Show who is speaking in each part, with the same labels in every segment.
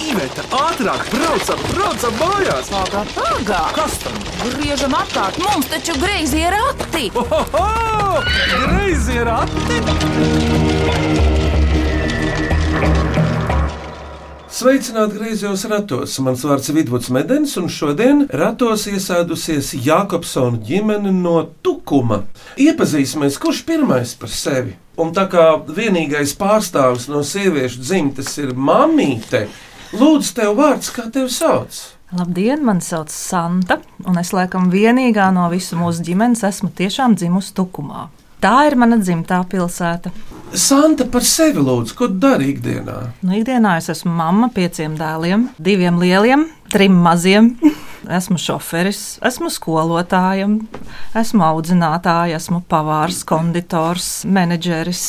Speaker 1: Iveta, ātrāk, braucam, braucam mājās!
Speaker 2: Pagā, pagā!
Speaker 1: Kas tam?
Speaker 2: Griežam apkārt, mums taču greizi ir rati!
Speaker 1: Ohoho! Greizi ir atti!
Speaker 3: Sveicināti griezos ratos. Mans vārds ir Vidvuds Medens, un šodien ratos iesēdusies Jākopsona ģimene no Tukuma. Iepazīsimies, kurš pirmais par sevi. Un tā kā vienīgais pārstāvis no sieviešu dzimtes ir mamīte, lūdzu, tev vārds, kā tevi sauc?
Speaker 4: Labdien, mani sauc Santa, un es laikam vienīgā no visu mūsu ģimenes esmu tiešām dzimusi Tukumā. Tā ir mana dzimtā pilsēta.
Speaker 3: Santa par sevi lūdzu, ko tu dari ikdienā?
Speaker 4: Nu, ikdienā es esmu mamma pieciem dēliem, diviem lieliem, trim maziem. Esmu šoferis, esmu skolotājs, esmu audzinātājs, esmu pavārs, konditors, menedžeris,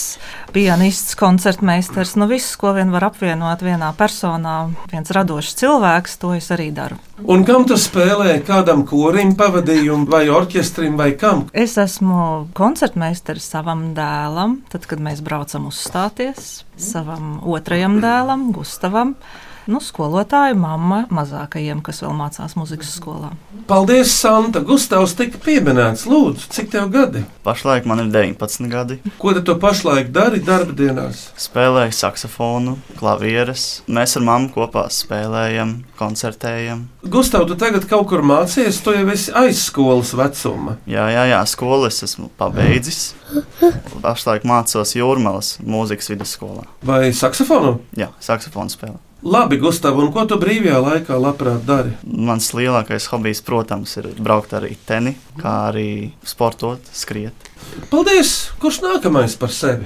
Speaker 4: pianists, koncertmeistars. Nu, viss, ko vien var apvienot vienā personā, viens radošs cilvēks, to es arī daru.
Speaker 3: Un kam tu spēlē, kādam korim, pavadījumam, vai orķestrim, vai kam?
Speaker 4: Es esmu koncertmeistars savam dēlam, tad, kad mēs braucam uzstāties savam otrajam dēlam, Gustavam. Nu, skolotāja mamma mazākajiem, kas vēl mācās muzikas skolā.
Speaker 3: Paldies, Santa! Gustavs tika pieminēts, lūdzu, cik tev gadi?
Speaker 5: Pašlaik man ir 19 gadi.
Speaker 3: Ko tu to pašlaik dari darba dienās?
Speaker 5: Spēlēju saksofonu, klavieres. Mēs ar mammu kopā spēlējam, koncertējam.
Speaker 3: Gustav, tu tagad kaut kur mācies, tu jau esi aizskolas vecuma.
Speaker 5: Jā, jā, jā skolu es esmu pabeidzis. Pašlaik mācos Jūrmālas mūzikas vidusskolā.
Speaker 3: Vai saksofonu?
Speaker 5: Jā, saksofonu spēlē.
Speaker 3: Labi, Gustav, un ko tu brīvajā laikā labprāt dari?
Speaker 5: Mans lielākais hobijs, protams, ir braukt ar riteni, kā arī sportot, skriet.
Speaker 3: Paldies! Kurš nākamais par sevi?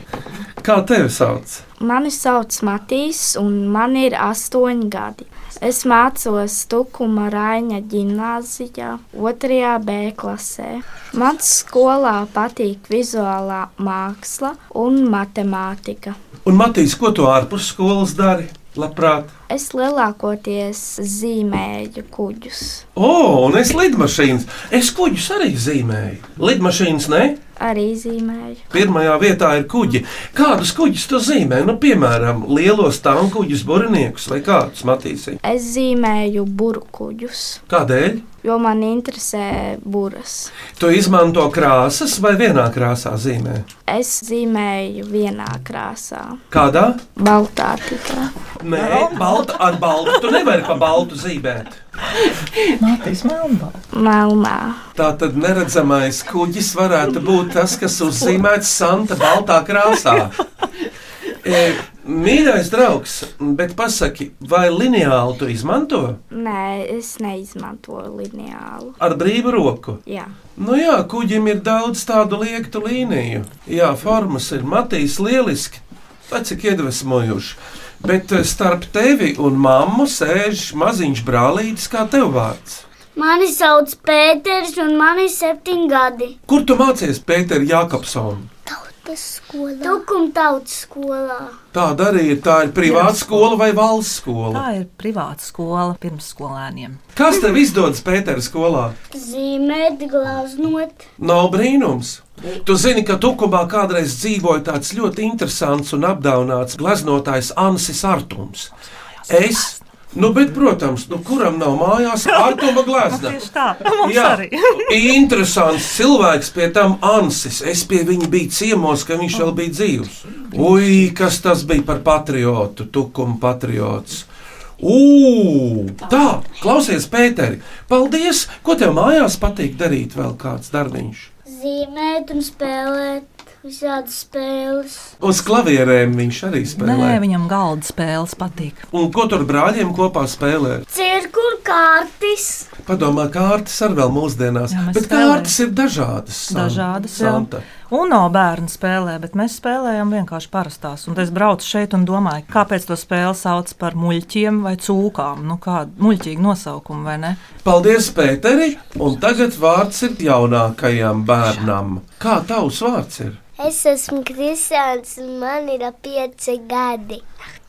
Speaker 3: Kā tevi sauc?
Speaker 6: Mani sauc Matīs, un man ir astoņi gadi. Es mācos Tukuma Raina gimnāzijā, 2. B klasē. Man skolā patīk vizuālā māksla un matemātika.
Speaker 3: Un Matīs, ko tu ārpus skolas dari? Labprāt!
Speaker 6: Es lielākoties zīmēju kuģus.
Speaker 3: O, un es lidmašīnas. Es kuģus arī zīmēju. Lidmašīnas ne?
Speaker 6: Arī zīmēju.
Speaker 3: Pirmajā vietā ir kuģi. Kādus kuģus tu zīmē? Nu, piemēram, lielos tankuģus, burniekus vai kādus matīsi.
Speaker 6: Es zīmēju burbuļus,
Speaker 3: Kādēļ?
Speaker 6: jo man interesē buras.
Speaker 3: Tu izmanto krāsas vai vienā krāsā zīmē?
Speaker 6: Es zīmēju vienā krāsā,
Speaker 3: Kādā?
Speaker 6: baltā tikai.
Speaker 3: Nē, balta ar baltu. Tu nevari pa baltu zīmēt.
Speaker 6: Melnā.
Speaker 3: Tā tad neredzamais kuģis varētu būt tas, kas uzzīmēts Santa baltā krāsā. E, mīļais draugs, bet pasaki, vai lineāli tu izmanto
Speaker 6: Nē, es neizmantoju lineālu.
Speaker 3: ar brīvu roku?
Speaker 6: Jā,
Speaker 3: Nu jā, kuģim ir daudz tādu liektu līniju. Jā, formas ir matīs lieliski, vai cik iedvesmojuši. Bet eh, starp tevi un mammu sēž maziņš brālītis, kā tev vārds.
Speaker 7: Mani sauc Pēters, un man ir septiņi gadi.
Speaker 3: Kur tu mācies, Pēter Jākapsons?
Speaker 7: Tukuma tautas skolā.
Speaker 3: Tāda arī ir. Tā ir privāta skola vai valsts skola.
Speaker 4: Tā ir privāta skola pirmsskolēniem.
Speaker 3: Kas tev izdodas Pētera skolā?
Speaker 7: Zīmēt, glāznot.
Speaker 3: Nav brīnums. Tu zini, ka Tukumā kādreiz dzīvoja tāds ļoti interesants un apdāvināts gleznotājs Ansis Artums. Es, nu, bet, protams, nu, kuram nav mājās Artuma glezna?
Speaker 4: Tieši tā, mums
Speaker 3: Jā,
Speaker 4: arī.
Speaker 3: interesants cilvēks, pie tam Ansis. Es pie viņa biju ciemos, kad viņš vēl bija dzīvs. Ui, kas tas bija par patriotu, tukuma patriots. Ugh, tā, klausies, Pēteri, paldies! Ko tev mājās patīk darīt vēl kāds darbiņš?
Speaker 7: Zīmēt un spēlēt visādas spēles.
Speaker 3: Uz klavierēm viņš arī
Speaker 4: Nē,
Speaker 3: spēlē.
Speaker 4: viņam galda spēles patīk.
Speaker 3: Un ko tur brāļiem kopā spēlē?
Speaker 7: Cirkuļu kārtis.
Speaker 3: Padomā, kārtas arī vēl mūsdienās.
Speaker 4: Jā, mēs
Speaker 3: Bet
Speaker 4: spēlējam.
Speaker 3: kārtas ir dažādas. San-
Speaker 4: Dažādas, jā.
Speaker 3: Santa.
Speaker 4: Un no bērna spēlē, bet mēs spēlējam vienkārši parastās. Un es braucu šeit un domāju, kāpēc to spēli sauc par muļķiem vai cūkām. Nu, kāda muļķīga nosaukuma, vai ne?
Speaker 3: Paldies, Pēteri! Un tagad vārds ir jaunākajam bērnam. Kā tavs vārds ir?
Speaker 7: Es esmu Kristians, un man ir pieci gadi.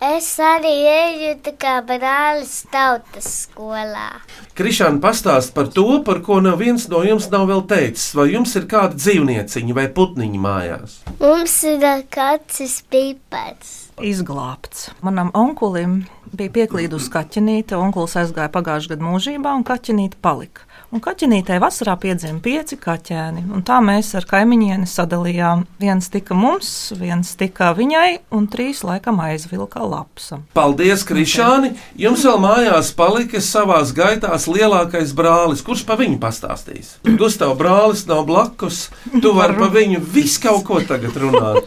Speaker 7: Es arī eju tā kā brālis tautas skolā.
Speaker 3: Krišāna pastāst par to, par ko neviens no jums nav vēl teicis. Vai jums ir kāda dzīvnieciņa vai putniņa mājās?
Speaker 7: Mums ir kāds pipars.
Speaker 4: Izglābts. Manam onkulim bija pieklīdusi kaķenīte. Onkulis aizgāja pagājušajā gadā mūžībā, un kaķenīte palika. Un kaķenītei vasarā piedzima pieci kaķēni. un Tā mēs ar kaimiņieni sadalījām. Viens tika mums, viens tika viņai, un trīs laikam aizvilka lapsam.
Speaker 3: Paldies, Krišāni! Jums vēl mājās palika savā gaitā lielākais brālis. Kurš pa viņu pastāstīs? Gustavs brālis nav blakus. Tu vari pa viņu visu kaut ko tagad runāt.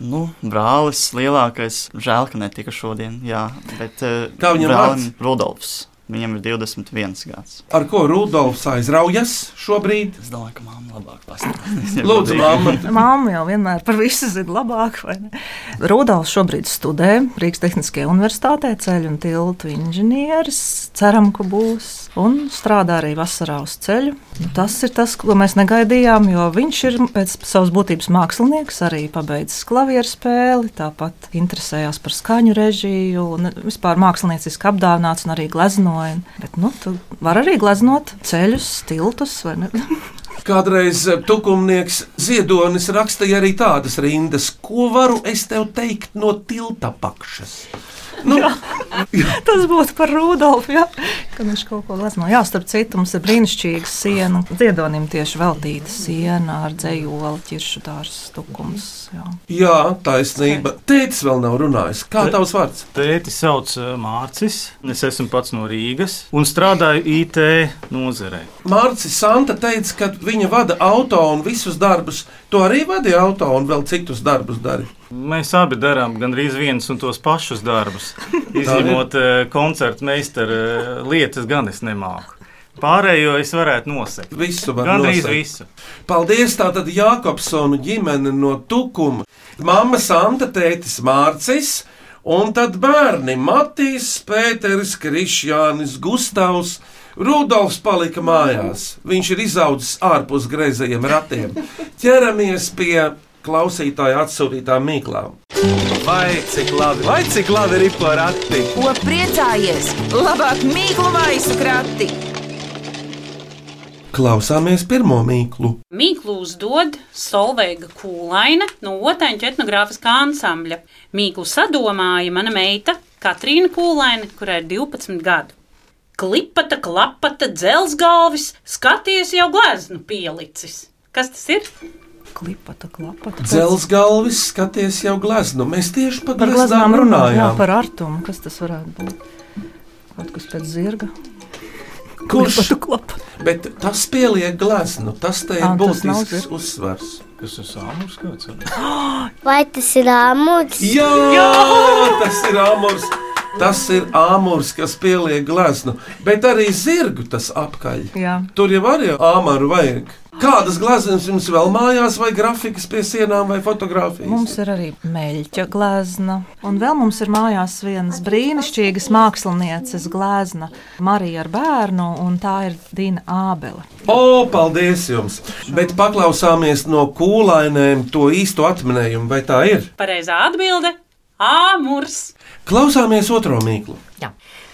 Speaker 5: Nu, brālis lielākais, žēl, ka netika šodien. Jā, bet eh,
Speaker 3: Kā viņam
Speaker 5: brālim Rudolfs. Viņam ir 21 gads.
Speaker 3: Ar ko Rudolfs aizraujas šobrīd?
Speaker 5: Es domāju, ka māma labāk pastāstīs. ja
Speaker 3: Lūdzu,
Speaker 5: godīgi.
Speaker 3: mamma!
Speaker 4: Māma jau vienmēr par visu zina labāk. vai ne? Rudolfs šobrīd studē Rīgas Tehniskajā universitātē ceļu un tiltu inženieris. Ceram, ka būs. Un strādā arī vasarā uz ceļu. Nu, Tas ir tas, ko mēs negaidījām, jo viņš ir pēc savas būtības mākslinieks, arī pabeidzis klavieru spēli, tāpat interesējās par skaņu režiju un vispār mākslinieciski apdāvināts un arī gleznoja. Bet nu, tu vari arī gleznot ceļus, tiltus vai ne?
Speaker 3: Kādreiz eh, tukumnieks Ziedonis rakstīja arī tādas rindas, ko varu es tev teikt no tilta pakšas. Nu,
Speaker 4: Tas būtu par Rudolfu. Jā, ka viņš kaut ko glezno. Jā, starp citu, mums ir brīnišķīga siena. Ziedonim tieši veltīta siena ar dzējoli, ķiršu dārstu stukums. Jā.
Speaker 3: jā, taisnība. Tētis vēl nav runājis. Kā tavs vārds?
Speaker 8: Tēti sauc eh, Mārcis, es esmu pats no Rīgas un strādāju IT nozarē.
Speaker 3: Mārcis Santa teica, ka viņa vada auto un visus darbus. Tu arī vadi auto un vēl citus darbus dari.
Speaker 8: Mēs abi darām gandrīz vienus un tos pašus darbus. Izņemot eh, koncertu meistara eh, lietas, gan es nemāku. Pārējo es varētu nosekt.
Speaker 3: Visu var
Speaker 8: Gandrīz
Speaker 3: nosaukt.
Speaker 8: visu.
Speaker 3: Paldies tātad Jākopsonu ģimene no Tukuma. Mama Santa, tētis Mārcis. Un tad bērni Matīs, Pēteris, Krišjānis, Gustavs. Rudolfs palika mājās. Viņš ir izaudzis ārpus greizajiem ratiem. Ķeramies pie klausītāja atsūtītām mīklām.
Speaker 1: Vai cik labi, vai cik labi ir pa rati?
Speaker 2: Ko priecājies? Labāk mīklu maisu krati!
Speaker 3: Klausāmies pirmo mīklu.
Speaker 9: Mīklu uzdod Solveiga Kūlaina no Otaņu etnogrāfiskā ansambļa. Mīklu sadomāja mana meita Katrīna Kūlaina, kurai ir 12 gadu. Klipata, klapata, dzelsgalvis, skaties jau gleznu pielicis. Kas tas ir?
Speaker 4: Klipata, klapata.
Speaker 3: Zelts galvis, skaties jau glazūru. Mēs tieši par,
Speaker 4: Par
Speaker 3: par
Speaker 4: gleznām
Speaker 3: glazām
Speaker 4: runājām. Jā,
Speaker 3: runājām.
Speaker 4: par artumu. Kas tas varētu būt? Kaut kas pēc zirga.
Speaker 3: Kurš
Speaker 4: Klipata, klapata.
Speaker 3: bet tas pieliek glazūru? Tas te ir
Speaker 4: Ā, tas nav
Speaker 3: būtisks
Speaker 4: zirgs.
Speaker 3: uzsvars.
Speaker 8: Kas ir sāmurs kāds?
Speaker 7: Vai tas ir āmuds?
Speaker 3: Jā, tas ir āmurs. Tas ir āmurs, kas pieliek glazūru, bet arī zirgu tas apkaļ.
Speaker 4: Jā.
Speaker 3: Tur jau arī āmuru vajag. Kādas glazūras jums vēl mājās, vai grafikas pie sienām, vai fotografijas?
Speaker 4: Mums ir arī meļķa glezna. Un vēl mums ir mājās vienas brīnišķīgas mākslinieces glezna, Marija ar bērnu, un tā ir Dina Ābele.
Speaker 3: O, paldies jums! Bet paklausāmies no kūlainēm to īsto atminējumu, vai tā ir?
Speaker 9: Pareizā atbilde - āmurs.
Speaker 3: Klausāmies otro mīklu.
Speaker 10: Jā.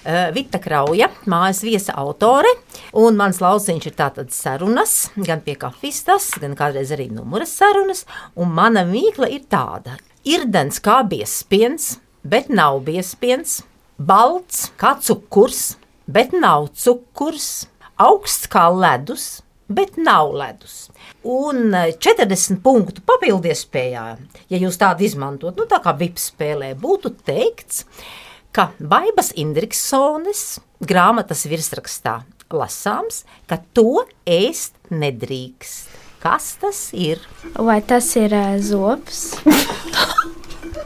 Speaker 10: Eh, Vita Krauja, mājas viesa autore, un mans lauciņš ir tātad sarunas, gan pie kafistas, gan kādreiz arī numura sarunas, un mana mīkla ir tāda. Ir dens kā biespiens, bet nav biespiens, balts kā cukurs, bet nav cukurs, augsts kā ledus, bet nav ledus. Un eh, 40 punktu papildiespējā, ja jūs tādu izmantot, nu tā kā VIP spēlē, būtu teikts, ka Baibas Indriksones grāmatas virsrakstā lasāms, ka to ēst nedrīkst. Kas tas ir?
Speaker 6: Vai tas ir ē, zops?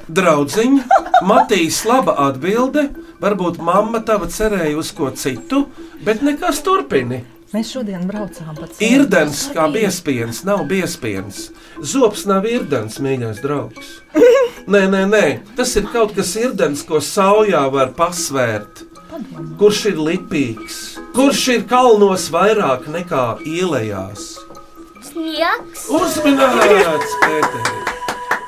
Speaker 3: Draudziņa, Matīs, laba atbilde. Varbūt mamma tava cerēja uz ko citu, bet nekas turpini.
Speaker 4: Mēs šodien braucām pa ceļu.
Speaker 3: Irdens kā biespiens, nav biespiens. Zops nav irdens, mīļais draugs. Nē, nē, nē, tas ir kaut kas irdens, ko saujā var pasvērt. Kurš ir lipīgs, kurš ir kalnos vairāk nekā ielējās?
Speaker 7: Sniegs.
Speaker 3: Uzmanīgs, Pēter!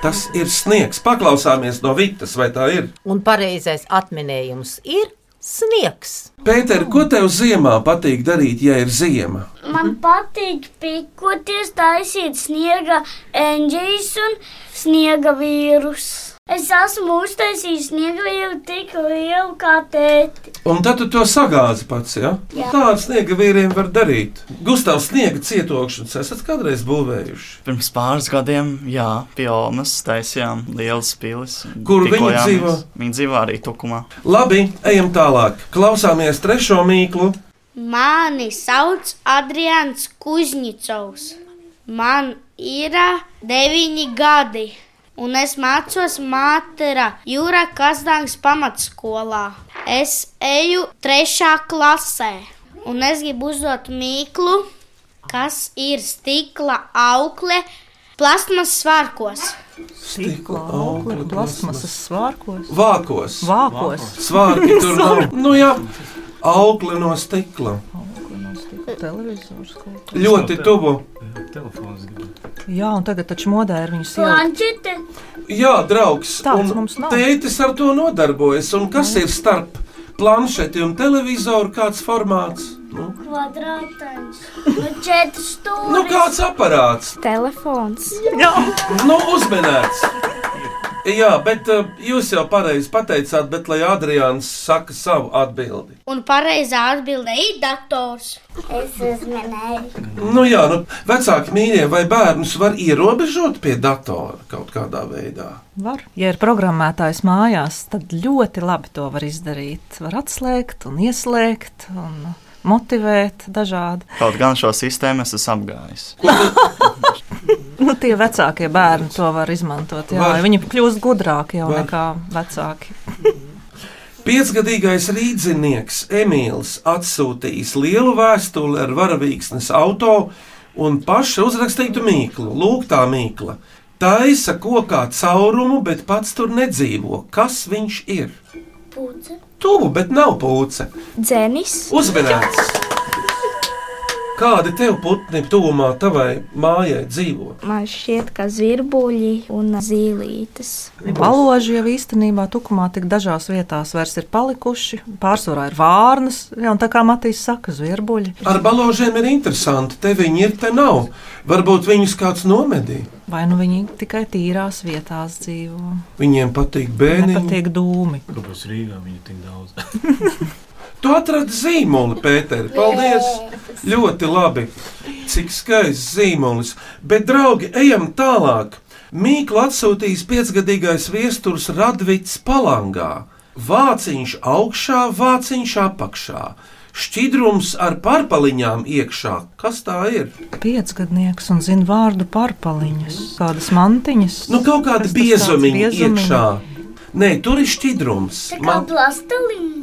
Speaker 3: Tas ir sniegs. Paklausāmies no Vitas, vai tā ir?
Speaker 10: Un pareizais atminējums ir sniegs.
Speaker 3: Pēter, ko tev ziemā patīk darīt, ja ir ziema?
Speaker 7: Man patīk pikoties, taisīt sniega enģijas un sniega vīrus. Es esmu uztaisījis sniegvīru tik lielu kā tēti.
Speaker 3: Un tad tu to sagāzi pats. Ja? Nu,
Speaker 7: Jā.
Speaker 3: Tādu sniega vīriem var darīt. Gustavs sniega cietokšanas esat kādreiz būvējuši.
Speaker 5: Pirms pāris gadiem, jā, pie Olmas taisījām lielas pilis.
Speaker 3: Kur viņi
Speaker 5: Tikojāmies.
Speaker 3: dzīvo?
Speaker 5: Viņi dzīvo arī Tukumā.
Speaker 3: Labi, ejam tālāk. Klausāmies trešo mīklu.
Speaker 11: Mani sauc Adrians Kuzņicovs. Man ir deviņi gadi, un es mācos Mātera Jūra Kazdāngas pamatskolā. Es eju trešā klasē, un es gribu uzdot mīklu, kas ir stikla aukle plasmas svārkos.
Speaker 4: Stikla augļa, plasmasas svārkos.
Speaker 3: Vākos.
Speaker 4: Vākos.
Speaker 3: Svārki tur nav. Nu, jā, aukli no stikla.
Speaker 4: Televizors kaut kas.
Speaker 3: Ļoti tuvu.
Speaker 8: Telefons gribētu.
Speaker 4: Jā, un tagad taču modē ir viņas ielikt.
Speaker 7: Planšete,
Speaker 3: Jā, draugs.
Speaker 4: Tāds
Speaker 3: un
Speaker 4: mums nav. Nu.
Speaker 3: Tētis ar to nodarbojas. Un kas ir starp planšeti un televizoru? Kāds formāts? Nu,
Speaker 7: kvadrātains, no četru stūri.
Speaker 3: nu kāds aparāts?
Speaker 6: Telefons.
Speaker 4: Jā.
Speaker 3: Nu, uzminēts. Jā, bet eh, jūs jau pareizi pateicāt, bet lai Adrians saka savu atbildi.
Speaker 11: Un pareizā atbildē ir dators.
Speaker 7: Es uzmanēju.
Speaker 3: Nu jā, nu, vecāki mīļie, vai bērnus var ierobežot pie datora kaut kādā veidā?
Speaker 4: Var. Ja ir programmētājs mājās, tad ļoti labi to var izdarīt. Var atslēgt, un ieslēgt un motivēt dažādi.
Speaker 5: Kaut gan šo sistēmu es esmu apgājis.
Speaker 4: Nu, tie vecākie bērni to var izmantot. Jā,
Speaker 3: Var.
Speaker 4: var. Viņi kļūst gudrāki jau
Speaker 3: Var.
Speaker 4: var. nekā vecāki.
Speaker 3: Piecgadīgais rīznieks Emīls atsūtījis lielu vēstuli ar varavīksnes auto un paša uzrakstītu mīklu. Lūk, tā mīkla. Taisa kokā caurumu, bet pats tur nedzīvo. Kas viņš ir?
Speaker 7: Pūce.
Speaker 3: Tuvu, bet nav pūce.
Speaker 6: Dzenis.
Speaker 3: Uzmanīts! Kādi tev putni tuvumā tavai mājai dzīvo?
Speaker 6: Man šķiet, ka zirbuļi un zīlītes.
Speaker 4: Baloži jau īstenībā tukumā tik dažās vietās vairs ir palikuši. Pārsvarā ir vārnas, jā, un tā kā Matīs saka, zvirbuļi.
Speaker 3: Ar balāžiem ir interesanti. Te viņi ir, te nav. Varbūt viņus kāds nomedīja.
Speaker 4: Vai nu viņi tikai tīrās vietās dzīvo?
Speaker 3: Viņiem patīk bērni.
Speaker 4: Nepatīk dūmi.
Speaker 8: Kāpēc Rīgā viņu tik daudz?
Speaker 3: Tu atradi zīmoli, Pēter. Paldies! Ļoti labi. Cik skaists zīmolis. Bet, draugi, ejam tālāk. Mīklu atsūtījis piecgadīgais viesturs Radvits Palangā. Vāciņš augšā, vāciņš apakšā. Šķidrums ar pārpaliņām iekšā. Kas tā ir?
Speaker 4: Piecgadnieks un zina vārdu pārpaliņas, kādas mantiņas.
Speaker 3: Nu, kaut kāda
Speaker 4: Kas tas tāds
Speaker 3: biezumiņa
Speaker 4: biezumiņi?
Speaker 3: iekšā. Nē, tur ir šķidrums.
Speaker 7: Tā kā
Speaker 3: Man,
Speaker 7: plastelīna.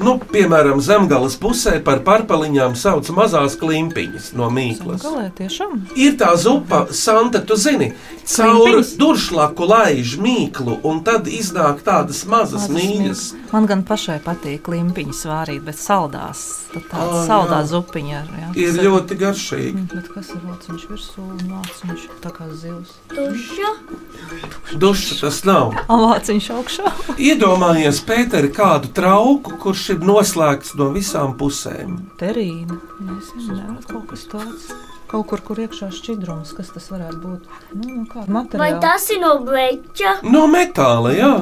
Speaker 3: nu, piemēram, zemgālas pusē par pārpaliņām sauc mazās klimpiņas no mīklas.
Speaker 4: Nu, Galē tiešām.
Speaker 3: Ir tā zupa, Santa, tu zini, caur
Speaker 4: Klimpiņas?
Speaker 3: duršlaku laiž mīklu, un tad iznāk tādas mazas
Speaker 4: Mazas
Speaker 3: mīļas.
Speaker 4: Man gan pašai patīk limpiņas vārīt, bet saldās. Tad tāda
Speaker 3: Ā,
Speaker 4: saldā
Speaker 3: Ah, jā.
Speaker 4: zupiņa ar, jā,
Speaker 3: Ir
Speaker 4: kas
Speaker 3: ļoti garšīgi.
Speaker 4: Mm, Bet kas ir vāciņš virsū un vāciņš tā kā zivs?
Speaker 7: Tuša.
Speaker 3: Duša tas nav.
Speaker 4: A, vāciņš augšā.
Speaker 3: Iedomājies, Pēter, kādu trauku, kurš ir noslēgts no visām pusēm.
Speaker 4: Terīna. Nezinu, nevar kaut kas tāds. Kaut kur, kur iekšā šķidrums, kas tas varētu būt? Nu, nu kāda
Speaker 7: Vai
Speaker 4: materiāla.
Speaker 7: tas ir no bleķa?
Speaker 3: No metāla, jā.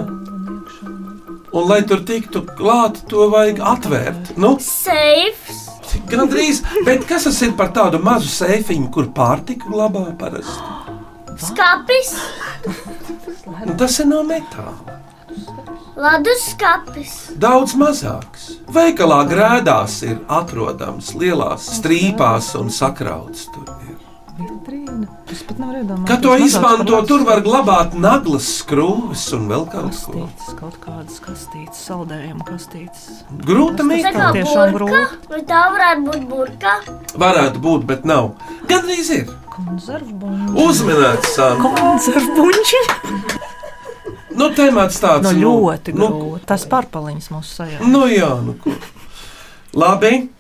Speaker 3: Un, lai tur tiktu klāt, to vajag atvērt. Nu,
Speaker 7: Seifs.
Speaker 3: Gan drīz, bet kas tas ir par tādu mazu sēfiņu, kur pārtika glabā parasti?
Speaker 7: Skapis.
Speaker 3: Un Nu, tas ir no metāla.
Speaker 7: Ledus skapis.
Speaker 3: Daudz mazāks. Veikalā grēdās ir atrodams lielās strīpās un sakrauts. tur ir.
Speaker 4: Vitrīna. Es pat nevaru iedomāties.
Speaker 3: Kad to
Speaker 4: mazāks
Speaker 3: izmanto,
Speaker 4: par
Speaker 3: tur var
Speaker 4: lasu.
Speaker 3: glabāt naglas skrūves un vēl kaut ko.
Speaker 4: Kastītes, kaut kādas kastītes, saldējumu kastītes.
Speaker 3: Grūta
Speaker 7: Tā
Speaker 3: mīkla.
Speaker 7: kā
Speaker 4: Tiešām
Speaker 7: burka. Vai tā varētu būt burka?
Speaker 3: Varētu būt, bet nav. Gan drīz ir.
Speaker 4: Konzervbuņi.
Speaker 3: Uzminēts, Sandra.
Speaker 4: Konzervbuņi.
Speaker 3: Nu, temats tāds
Speaker 4: No
Speaker 3: nu,
Speaker 4: ļoti
Speaker 3: nu,
Speaker 4: grūti. Tas pārpaliņas mūsu sajā.
Speaker 3: Nu, jā, nu ko. Labi.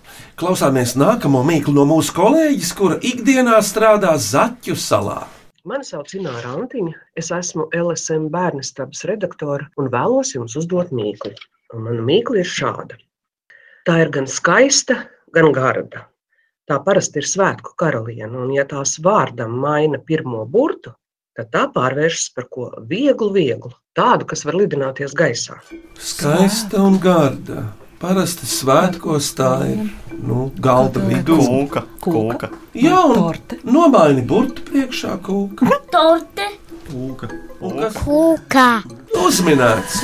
Speaker 3: Klausāmies nākamo mīklu no mūsu kolēģis, kura ikdienā strādā Zaķu salā.
Speaker 12: Mani sauc Ināra Antiņa, es esmu LSM bērnu stāvas redaktore un vēlos jums uzdot mīklu. Un mana mīkla ir šāda. Tā ir gan skaista, gan garda. Tā parasti ir svētku karaliene, un ja tās vārdam maina pirmo burtu, tad tā pārvēršas par ko vieglu, vieglu, tādu, kas var lidināties gaisā.
Speaker 3: Skaista un garda. Parasti svētkos tā ir nu, galda vidū.
Speaker 5: Kūka. Kūka.
Speaker 4: Nu,
Speaker 3: Jā, un nomaini burtu priekšā kūka.
Speaker 11: Torte.
Speaker 3: Kūka.
Speaker 7: Kūkā.
Speaker 3: Uzminēts.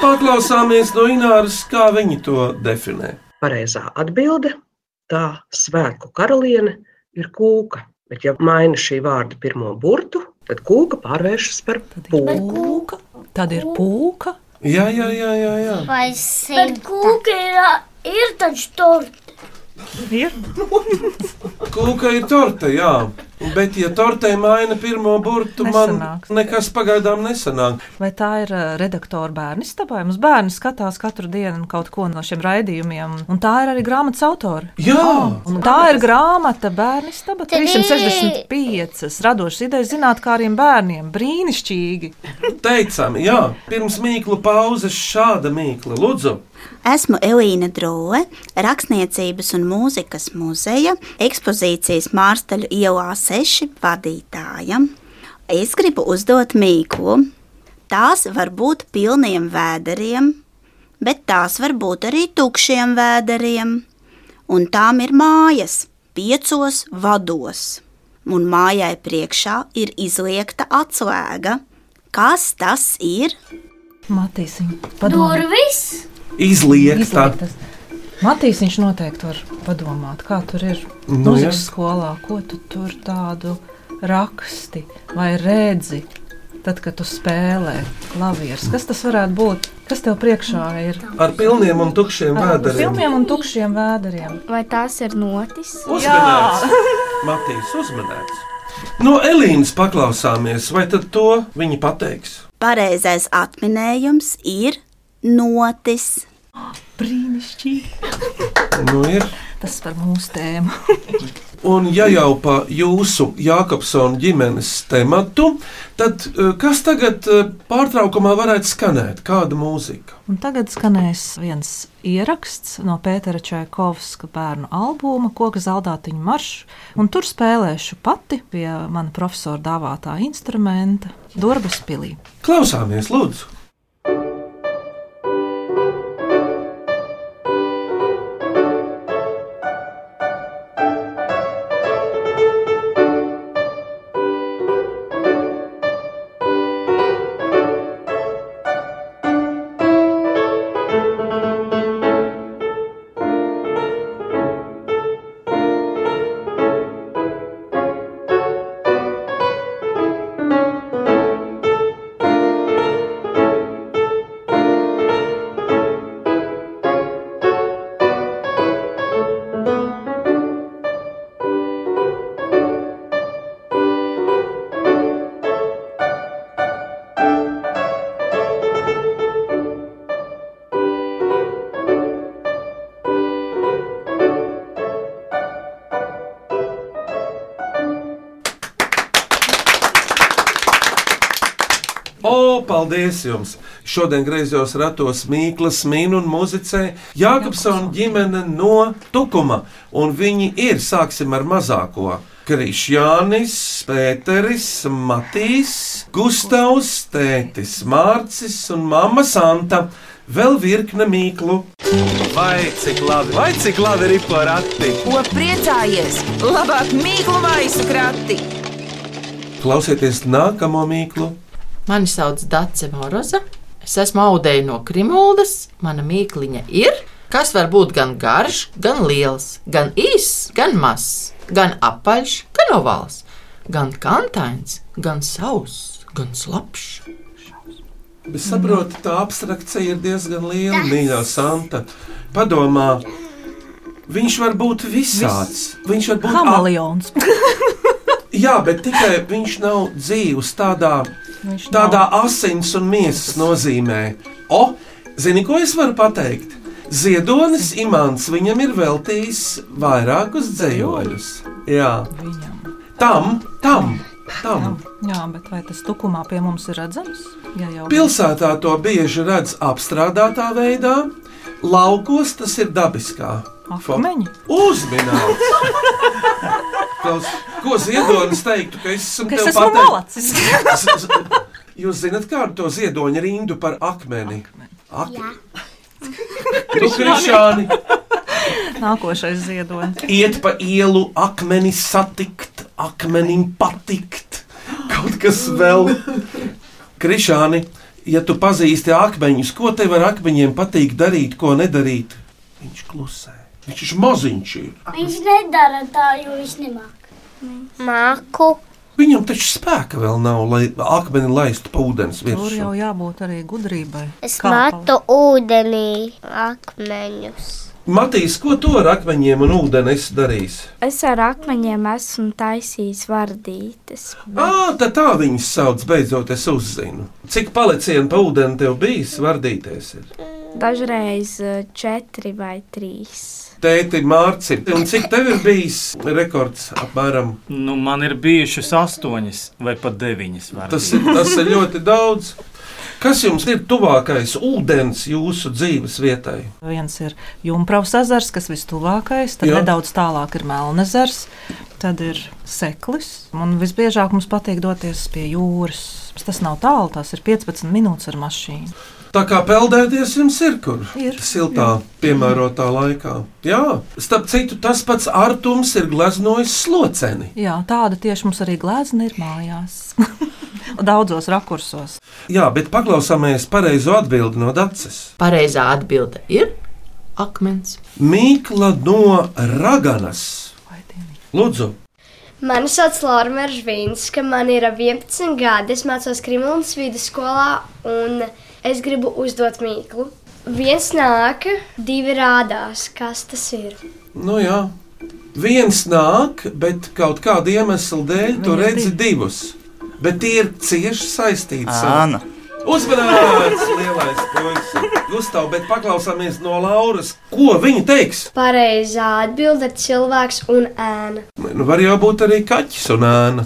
Speaker 3: Paklausāmies no Ināras, kā viņi to definē.
Speaker 12: Pareizā atbilde - tā svētku karaliene ir kūka. Bet, ja maina šī vārda pirmo burtu, tad kūka pārvēršas par pūku.
Speaker 4: Kūka. Tad ir pūka.
Speaker 3: Jā, jā, jā, jā. jā.
Speaker 11: Vai
Speaker 7: simta?
Speaker 11: Bet kūka ir, ir taču torte.
Speaker 4: Ir.
Speaker 3: Kūka ir torte, jā. Bet, ja tortei maina pirmo burtu,
Speaker 4: Nesanāks.
Speaker 3: man nekas pagaidām nesanāk.
Speaker 4: Vai tā ir eh, redaktora bērnu stāvā? Mums bērni skatās katru dienu kaut ko no šiem raidījumiem, un tā ir arī grāmatas autore.
Speaker 3: Jā.
Speaker 4: un tā ir grāmata bērnu stāvā 365. Radošas idejas zinātniem bērniem. Brīnišķīgi!
Speaker 3: Teicām, jā, pirms mīklu pauzes šāda mīkla. Lūdzu,
Speaker 13: Esmu Elīna Drole, rakstniecības un mūzikas muzeja ekspozīcijas Mārstaļu ielā 6 vadītāja. Es gribu uzdot mīklu. Tās var būt pilniem vēderiem, bet tās var būt arī tukšiem vēderiem. Un tām ir mājas, piecos vados. Un mājai priekšā ir izliekta atslēga. Kas tas ir?
Speaker 4: Matīsim,
Speaker 11: Durvis.
Speaker 3: izliekta.
Speaker 4: Matīs viņš noteikti var padomāt, kā tur ir
Speaker 3: Nu, jā.
Speaker 4: mūzikas skolā, ko tu tur tādu raksti vai redzi. Tad, kad tu spēlē klavierus, kas tas varētu būt? Kas tev priekšā ir?
Speaker 3: Ar pilniem un tukšiem
Speaker 4: Ar
Speaker 3: vēderiem.
Speaker 4: Filmiem un tukšiem vēderiem.
Speaker 6: Vai tās ir notis?
Speaker 3: Uzmanīts! Matīs, uzmanīts! No Elīnas paklausāmies, vai tad to viņa pateiks?
Speaker 13: Pareizais atminējums ir notis.
Speaker 4: Brīnišķīgi.
Speaker 3: Nu, ir.
Speaker 4: Tas par mūsu tēmu.
Speaker 3: Un, ja jau pa jūsu Jākopsona ģimenes tematu, tad eh, kas tagad eh, pārtraukumā varētu skanēt? Kāda mūzika?
Speaker 4: Un tagad skanēs viens ieraksts no Pētera Čaikovska bērnu albuma Koka zeltātiņa maršs, un tur spēlēšu pati pie mana profesora dāvātā instrumenta Dorbas pilī.
Speaker 3: Klausāmies, lūdzu! O, paldies jums! Šodien griezos ratos Mīklas, Mīna un Mūzicē Jākopsona ģimene no Tukuma. Un viņi ir, sāksim ar mazāko. Krišjānis, Pēteris, Matīs, Gustavs, Tētis, Mārcis un Māma Santa. Vēl virkne mīklu.
Speaker 1: Vai cik labi, vai cik labi ir porati?
Speaker 2: Ko priecājies? Labāk mīklu maisu krati.
Speaker 3: Klausieties nākamo mīklu.
Speaker 14: Mani sauc Dace Moroza. Es esmu audēja no Krimuldas. Mana mīkliņa ir, kas var būt gan garš, gan liels, gan īss, gan mazs, gan apaļš, gan ovāls, gan kantains, gan sauss, gan slapjš.
Speaker 3: Es saprotu, tā abstrakcija ir diezgan liela. Mīļā Santa, padomā, viņš var būt visāds. Viņš var būt
Speaker 4: Kameleons.
Speaker 3: Jā, bet tikai viņš nav dzīvs tādā, tādā asins un miesas nozīmē. O, zini, ko es varu pateikt? Ziedonis Imants viņam ir veltījis vairākus dzējoļus. Jā, tam, tam, tam.
Speaker 4: Jā, bet vai tas tukumā pie mums ir redzams? Jā, jau
Speaker 3: Pilsētā to bieži redz apstrādātā veidā, laukos tas ir dabiskā.
Speaker 4: Akmeņi?
Speaker 3: Uzmanīgs! Ko Ziedonis teiktu, ka es esmu
Speaker 4: Ka es
Speaker 3: tev
Speaker 4: esmu malacis.
Speaker 3: pateicis? Jūs zināt, kādu to ziedoņa rindu par akmeni? Ak... Nu, Krišāni,
Speaker 4: Nākošais ziedonis.
Speaker 3: iet pa ielu, akmeni satikt, akmenim patikt. Kaut kas vēl. Krišāni, ja tu pazīsti akmeņus, ko tev ar akmeņiem patīk darīt, ko nedarīt? Viņš klusē. Viņš ir maziņš. Ir.
Speaker 11: Viņš nedara tā, jo viņš nemāk.
Speaker 7: Māku.
Speaker 3: Viņam taču spēka vēl nav, lai akmeni laistu pa ūdens
Speaker 4: Tur
Speaker 3: virsmu.
Speaker 4: jau jābūt arī gudrībai.
Speaker 7: Es
Speaker 4: Kā
Speaker 7: matu ūdenī akmeņus.
Speaker 3: Matīs, ko tu ar akmeņiem un ūdeni esi darījis?
Speaker 6: Es ar akmeņiem esmu taisījis vardītes.
Speaker 3: Ah, tā tā viņas sauc, beidzot es uzzinu. Cik palicienu pa ūdeni tev bijis, vardīties ir?
Speaker 6: Dažreiz eh, četri vai trīs.
Speaker 3: Tēti, Mārci, un cik tev ir bijis rekords apmēram?
Speaker 8: Nu, man ir bijušas astoņas vai pat deviņas.
Speaker 3: Tas ir, tas ir ļoti daudz. Kas jums ir tuvākais ūdens jūsu dzīves vietai?
Speaker 4: Viens ir Junkas ezers, kas vistuvākais, tad
Speaker 3: Jā.
Speaker 4: Jā. nedaudz tālāk ir Melnezers, tad ir Seklis. Un visbiežāk mums patīk doties pie jūras. Tas nav tālu, tas ir 15 minūtes ar mašīnu.
Speaker 3: Tā kā peldēties jums ir kur?
Speaker 4: Ir.
Speaker 3: Siltā, piemērotā laikā. Jā, starp citu, tas pats Artums ir gleznojis sloceni.
Speaker 4: Jā, tāda tieši mums arī glezna ir mājās. Daudzos rakursos.
Speaker 3: Jā, bet paklausāmies pareizo atbildi no dacis.
Speaker 14: Pareizā atbilde ir akmens.
Speaker 3: Mīkla no Raganas. Lūdzu,
Speaker 11: Mani sauc Lorija Zvaigznes, man ir 11 gadi. Es mācos Krimlas vidusskolā, un es gribu uzdot mīklu. Viens nāk, divi rādās. Kas tas ir?
Speaker 3: nu jā, viens nāk, bet kaut kāda iemesla dēļ tu redzi divus. Bet tie ir cieši saistīti.
Speaker 5: Āna.
Speaker 3: Uzmanīgs, lielais puisis. Gustav, bet paklausāmies no Lauras, ko viņa teiks.
Speaker 11: Pareizā atbilde ir cilvēks un ēna.
Speaker 3: Nu, var jau būt arī kaķis un ēna.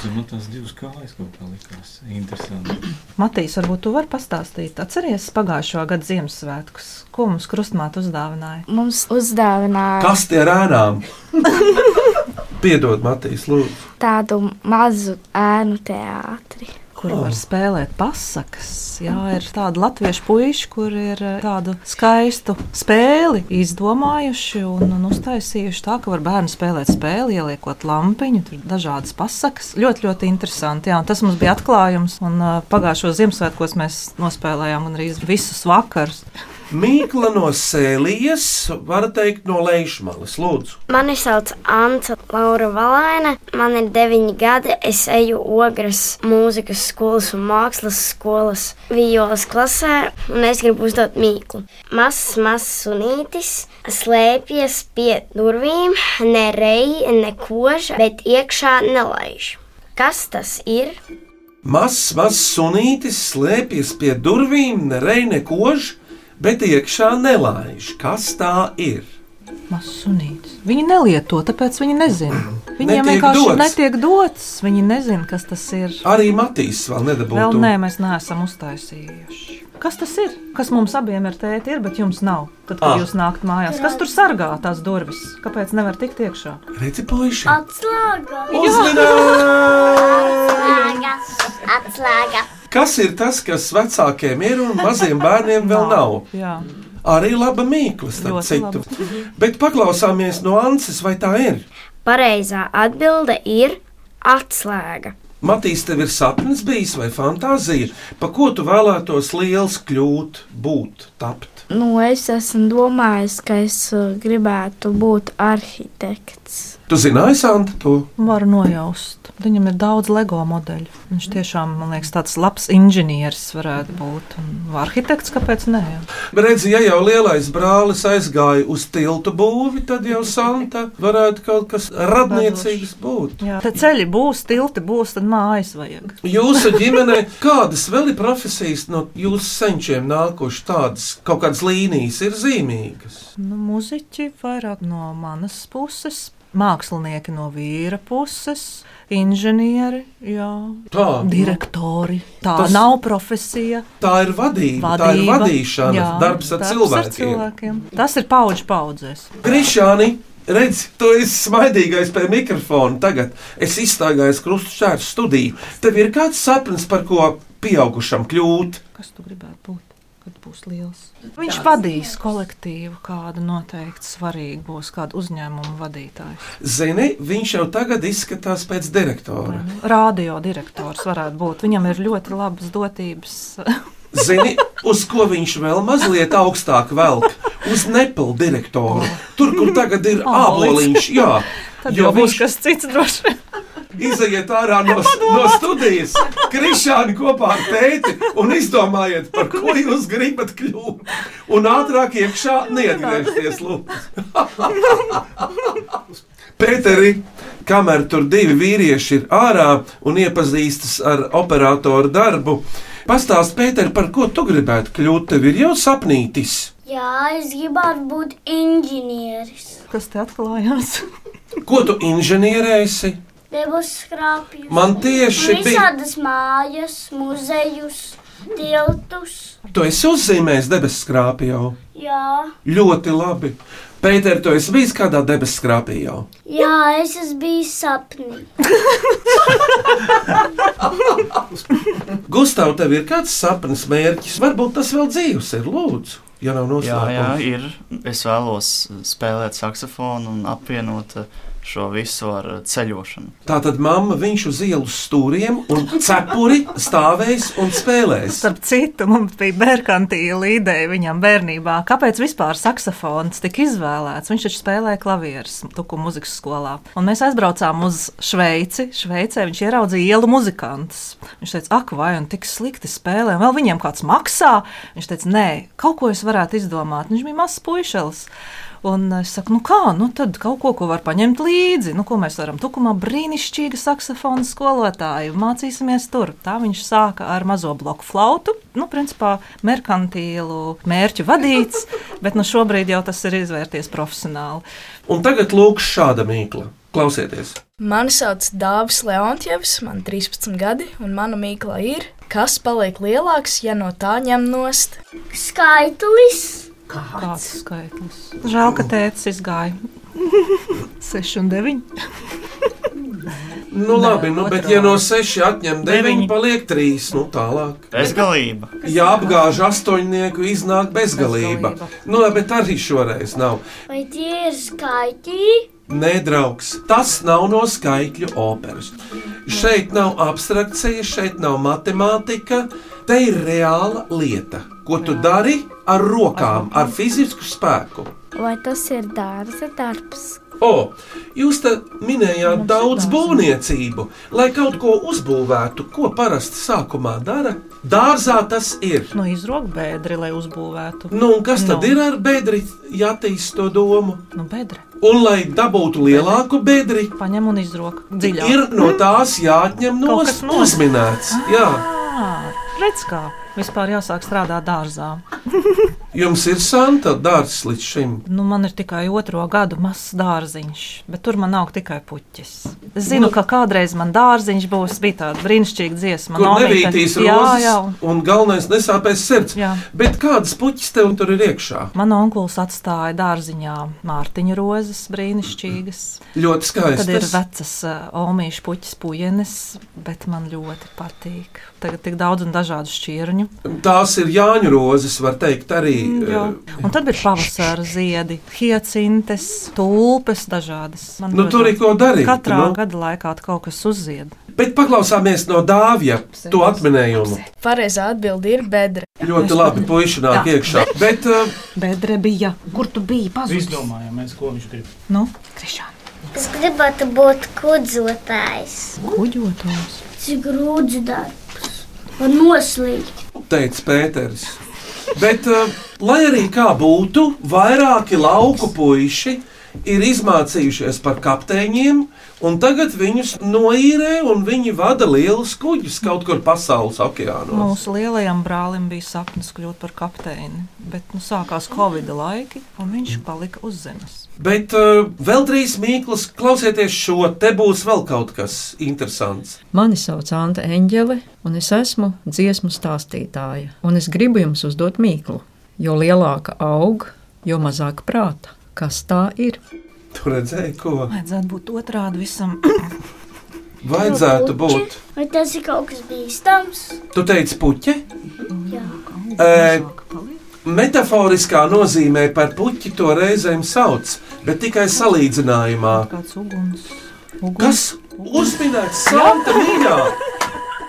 Speaker 8: Man tās divas kājas kaut kā likās interesanti.
Speaker 4: Matīs, varbūt tu vari pastāstīt, atceries pagājušā gada Ziemassvētkus, ko mums krustmāte uzdāvināja?
Speaker 6: Mums uzdāvināja
Speaker 3: Kas tie ir ēnām? Piedod, Matīs, lūdzu.
Speaker 6: tādu mazu ēnu teātri.
Speaker 4: Kur
Speaker 3: Oh.
Speaker 4: var spēlēt pasakas. Jā, ir tādi latviešu puiši, kur ir eh, tādu skaistu spēli izdomājuši un, un uztaisījuši tā, ka var bērnu spēlēt spēli, ieliekot lampiņu, tur dažādas pasakas. Ļoti, ļoti interesanti. Jā, un tas mums bija atklājums, un eh, pagājušo Ziemassvētkos mēs nospēlējām arī visus vakarus.
Speaker 3: Mīkla no sēlies, var teikt, no lejšmalas. Lūdzu,
Speaker 7: Mani sauc Anta Laura Valēna. Man ir 9 gadi. Es eju ogres mūzikas skolas un mākslas skolas vijoles klasē, un es gribu uzdot mīklu. Mazs, mazs sunītis slēpjas pie durvīm, nerej, nekož, bet iekšā nelaiž. Kas tas ir?
Speaker 3: mazs, mazs sunītis slēpjas pie durvīm, nereine kož, bet iekšā nelaiž. Kas tā ir?
Speaker 4: Mazs sunītis. Viņi nelieto, tāpēc viņi nezina. Viņiem
Speaker 3: Netiek
Speaker 4: vienkārši
Speaker 3: dots.
Speaker 4: netiek dots. Viņi nezina, kas tas ir.
Speaker 3: Arī Matīs vēl nedabūja.
Speaker 4: Vēl nē, mēs neesam uztaisījuši. Kas tas ir? Kas mums abiem ir tēti, ir, bet jums nav. Tad, kad
Speaker 3: Ah.
Speaker 4: ah. jūs nākat mājās, kas tur sargā tās durvis? Kāpēc nevar tikt iekšā?
Speaker 3: Redzi, puiši!
Speaker 7: Atslēga!
Speaker 3: Uzmanīgi!
Speaker 7: Atslēga!
Speaker 3: Kas ir tas, kas vecākiem ir un maziem bērniem vēl nav?
Speaker 4: Jā,
Speaker 3: Arī laba mīkla, starp
Speaker 7: Ļoti
Speaker 3: citu. Bet paklausāmies no Anses, vai tā ir?
Speaker 7: Pareizā atbilde ir atslēga.
Speaker 3: Matīs, tev ir sapnis bijis vai fantāzija, pa ko tu vēlētos liels kļūt, būt, tapt?
Speaker 6: Nu, es esmu domājis, ka es eh, gribētu būt arhitekts.
Speaker 3: Tu zināji, Santa, to?
Speaker 4: var nojaust. Viņam ir daudz LEGO modeļu. Viņš tiešām, man liekas, tāds labs inženieris varētu būt. Un arhitekts, kāpēc ne? Jā.
Speaker 3: Bet redzi, ja jau lielais brālis aizgāja uz tiltu būvi, tad jau Santa varētu kaut kas radniecīgs būt.
Speaker 4: Jā. Te ceļi būs, tilti būs, tad mājas vajag.
Speaker 3: Jūsu ģimenē kādas vēl ir profesijas no jūsu senčiem nākušas tādas, kaut kādas līnijas ir zīmīgas?
Speaker 4: Nu, muziķi vairāk no manas puses, mākslinieki no vīra puses, inženieri, jā,
Speaker 3: Tā.
Speaker 4: direktori. Tā
Speaker 3: Tas-
Speaker 4: Tas... nav profesija.
Speaker 3: Tā ir vadība, tā ir vadīšana, darbs ar cilvēkiem.
Speaker 4: cilvēkiem. Tas ir paudžu paudzēs.
Speaker 3: Krišāni, Redzi, tu esi smaidīgais pie mikrofona. Tagad es iztaigāju krustveida studiju. Tev ir kāds sapnis, par ko pieaugušam kļūt?
Speaker 4: Kas tu gribētu būt, kad būs liels? Viņš vadīs kolektīvu, kāda noteikti svarīga būs, kāda uzņēmuma vadītāja.
Speaker 3: Zini, viņš jau tagad izskatās pēc direktora.
Speaker 4: Radio direktors varētu būt. Viņam ir ļoti labas dotības.
Speaker 3: Zini, uz ko viņš vēl mazliet augstāk velk? Uz nepilnu direktoru. Tur, kur tagad ir āboliņš, jā.
Speaker 4: Tad jau būs kas cits droši vien.
Speaker 3: Izejiet ārā no, s- no studijas, krišāni kopā ar tēti un izdomājiet, par ko jūs gribat kļūt. Un ātrāk iekšā neatgriezties, lūdzu. Pēteri, kamēr tur divi vīrieši ir ārā un iepazīstas ar operatoru darbu, pastāst, Pēteri, par ko tu gribētu kļūt? Tev ir jau sapnītis.
Speaker 15: Jā, es gribētu būt inženieris.
Speaker 4: Kas te atklājās?
Speaker 3: Ko tu inženierēsi?
Speaker 15: Debes skrapjus.
Speaker 3: Man tieši bija-
Speaker 15: Visādas mājas, muzejus, tiltus.
Speaker 3: Tu esi uzzīmējis debesu skrāpju jau.
Speaker 15: Jā,
Speaker 3: Ļoti labi. Pēter, tu esi bijis kādā debesu skrāpī jau.
Speaker 15: jā es esmu bijis sapnī.
Speaker 3: Gustav, tev ir kāds sapnis, mērķis? Varbūt tas vēl dzīves ir, lūdzu, ja nav
Speaker 5: Jā, jā,
Speaker 3: noslēpums.
Speaker 5: ir. Es vēlos spēlēt saksofonu un apvienot eh, šo visu ar eh, ceļošanu.
Speaker 3: Tā tad mamma viņš uz ielas stūriem un cepuri stāvēs un spēlēs.
Speaker 4: Starp citu, mums bija bērnkantīla ideja viņam bērnībā. Kāpēc vispār saksofons tika izvēlēts? Viņš taču spēlēja klavierus Tuku muzikas skolā. Un mēs aizbraucām uz Šveici. Šveicē viņš ieraudzīja ielu muzikantus. Viņš teica, ak, vai un tik slikti spēlē, un vēl viņiem kāds maksā. Viņš teica, nē, kaut ko es varētu izdomāt. Viņš bija mazs puišels. Un es saku, nu kā, nu tad kaut ko, ko var paņemt līdzi. Nu, ko mēs varam? Tukumā brīnišķīga saksofona skolotāja. Mācīsimies tur. Tā viņš sāka ar mazo bloku flautu. Nu, principā merkantīlu mērķu vadīts, bet nu šobrīd jau tas ir izvērties profesionāli.
Speaker 3: Un tagad lūk šāda mīkla. Klausieties!
Speaker 16: Mani sauc Dāvis Leontjevs, man 13 gadi, un mana mīkla ir, kas paliek lielāks, ja no tā ņem nost.
Speaker 15: Skaitlis.
Speaker 4: Kāds skaitlis? Žēl, ka tēvs izgāja. 6 un 9.
Speaker 3: Nu,
Speaker 4: Nē,
Speaker 3: labi, nu, bet
Speaker 4: otrā.
Speaker 3: ja no 6 atņem 9,
Speaker 4: Deviņi.
Speaker 3: paliek 3. Nu, tālāk.
Speaker 5: Bezgalība.
Speaker 3: Ja apgāž astoņnieku, iznāk bezgalība. Nu, bet arī šoreiz nav.
Speaker 15: Vai tie ir skaitļi?
Speaker 3: Nē, draugs, tas nav no skaitļu operas. Šeit nav abstrakcija, šeit nav matemātika. Te ir reāla lieta, ko tu dari ar rokām, ar fizisku spēku.
Speaker 6: Vai tas ir dārza darbs?
Speaker 3: O, jūs te minējāt daudz būvniecību. Lai kaut ko uzbūvētu, ko parasti sākumā dara, dārzā tas ir.
Speaker 4: Nu, izrok bēdri, lai uzbūvētu.
Speaker 3: Nu, un kas tad
Speaker 4: Nu.
Speaker 3: ir ar bedri, ja attīst to domu?
Speaker 4: Nu, bedre.
Speaker 3: Un, lai dabūtu lielāku bedri,
Speaker 4: Paņem un izrok dziļāk.
Speaker 3: ir no tās jāatņem
Speaker 4: Kaut kas Ah.
Speaker 3: nost
Speaker 4: nost.
Speaker 3: uzminēts. Jā,
Speaker 4: Ā, Redz, kā vispār jāsāk strādāt dārzā.
Speaker 3: jums ir santa dārsts līdz šim.
Speaker 4: Nu, man ir tikai otro gadu mazs dārziņš, bet tur man aug tikai puķis. Es
Speaker 3: Nu.
Speaker 4: zinu, ka kādreiz man dārziņš būs, bija tāda brīnišķīga dziesma.
Speaker 3: Kur
Speaker 4: Naomi, ka-
Speaker 3: nevītīs
Speaker 4: jā,
Speaker 3: rozes,
Speaker 4: jā.
Speaker 3: un galvenais nesāpēs sirds. Jā. Bet kādas puķis tev tur ir iekšā?
Speaker 4: Mana onkulis atstāja dārziņā mārciņu rozes, brīnišķīgas.
Speaker 3: Ļoti skaistas.
Speaker 4: Tad ir vecas ā, olīšu puķis, puķenes, bet man ļoti patīk. Tagad tik daudz un dažādu šķirņu.
Speaker 3: Tās ir Jāņu rozes, var teikt, arī.
Speaker 4: Mm, Jā.
Speaker 3: eh,
Speaker 4: Un tad bija pavasara ziedi, hiecintes, tulpes dažādas. Man
Speaker 3: Nu,
Speaker 4: ļoti
Speaker 3: tur ir ko darīt,
Speaker 4: Katrā
Speaker 3: nu.
Speaker 4: gada laikā kaut kas uzzied.
Speaker 3: Bet paklausāmies no dāvja to atminējumu.
Speaker 16: Pareizā atbilde ir bedra.
Speaker 3: Ļoti labi, puiši nāk
Speaker 16: Jā.
Speaker 3: iekšā. Bet, eh,
Speaker 4: Bedre bija. Kur tu biji?
Speaker 16: Pazudis.
Speaker 8: Izdomājamies, ko viņš grib.
Speaker 4: Nu,
Speaker 15: Es gribētu būt kuģotājs.
Speaker 4: Kuģotājs?
Speaker 15: Cik grūts darbs. Un noslīgt.
Speaker 3: teica Pēters. Bet, eh, lai arī kā būtu, vairāki lauku puiši ir izmācījušies par kapteiņiem, un tagad viņus noīrē, un viņi vada lielus kuģus kaut kur pasaules okeānos.
Speaker 4: Mūsu lielajam brālim bija sapnis kļūt par kapteini, bet nu, sākās Covid laiki, un viņš palika uz zemes.
Speaker 3: Bet eh, vēl trīs mīklas, klausieties šo, te būs vēl kaut kas interesants.
Speaker 17: Mani sauc Anta Eņģele, un es esmu dziesmu stāstītāja. Un es gribu jums uzdot mīklu. Jo lielāka aug, jo mazāk prāta. Kas tā ir?
Speaker 3: Tu redzēji, ko
Speaker 4: Vajadzētu būt otrādi visam.
Speaker 3: vajadzētu būt.
Speaker 15: Vai tas ir kaut kas bīstams?
Speaker 3: Tu teici, puķi?
Speaker 15: Jā.
Speaker 3: E, metaforiskā nozīmē par puķi to reizēm sauc, bet tikai salīdzinājumā.
Speaker 4: Kāds uguns?
Speaker 3: Kas uzminēts Santa mīļā?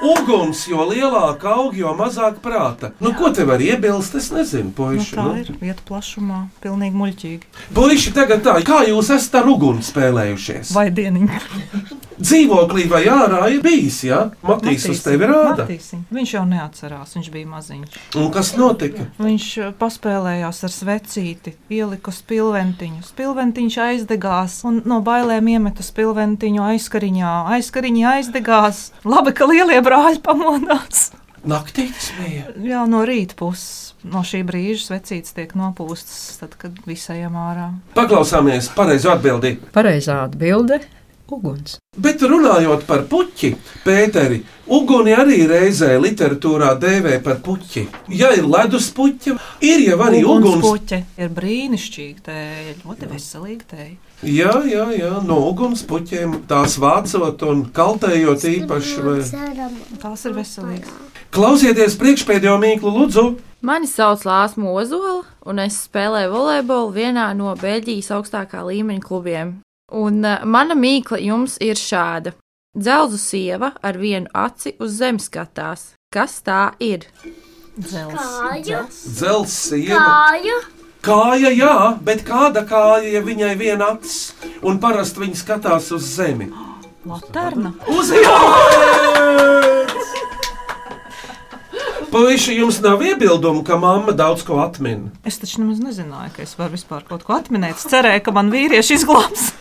Speaker 3: Uguns, jo lielāka auga, jo mazāk prāta. Nu, ko te var iebilst? Es nezinu,
Speaker 4: Nu,
Speaker 3: puiši.
Speaker 4: tā ir vieta plašumā, pilnīgi muļķīgi.
Speaker 3: Puiši, tagad tā, kā jūs esat ar uguni spēlējušies?
Speaker 4: Vai dieniņa?
Speaker 3: Dzīvoklī vai ārā ir bijis, jā? Matīs uz tevi rāda.
Speaker 4: Matīsim. Viņš jau neatcerās, viņš bija maziņš.
Speaker 3: Un kas notika?
Speaker 4: Viņš eh, paspēlējās ar svecīti, ielika spilventiņu. Spilventiņš aizdegās un no bailēm iemeta spilventiņu aizkariņā. Aizkariņā aizdegās. Labi, ka lielie brāļi pamodās.
Speaker 3: Naktī tas bija.
Speaker 4: Jā, no rīta puses, no šī brīža svecītes tiek nopūstas, tad, kad visajam ārā.
Speaker 3: Paklausāmies pareizo atbildību.
Speaker 17: Pareizā atbilde - uguns.
Speaker 3: Bet runājot par puķi, Pēteri, uguni arī reizē literatūrā dēvē par puķi. Ja ir ledus puķa, ir jau arī uguns.
Speaker 4: puķe ir brīnišķīga tēja, ļoti veselīga tēja.
Speaker 3: Jā, jā, jā, no uguns puķiem tās vācot un kaltējot īpaši. Vai...
Speaker 4: Tās ir veselīgas.
Speaker 3: Klausieties priekšpēdējo mīklu, lūdzu!
Speaker 18: Mani sauc Lārs Mozola, un es spēlēju volejbolu vienā no Beļģijas augstākā līmeņa klubiem. Un uh, mana mīkla jums ir šāda. Dzelzu sieva ar vienu aci uz zemes skatās. Kas tā ir?
Speaker 15: Kāju?
Speaker 3: Dzels sieva!
Speaker 15: Kāju?
Speaker 3: Kāja, jā, bet kāda kāja, ja viņai viena acis, un parasti viņa skatās uz zemi?
Speaker 4: Laterna.
Speaker 3: Uzmanības! Puisši, jums nav iebildumu, ka mamma daudz ko atmin.
Speaker 4: Es taču nemaz nezināju, ka es varu vispār kaut ko atminēt. Es cerēju, ka man vīrieši izglābs.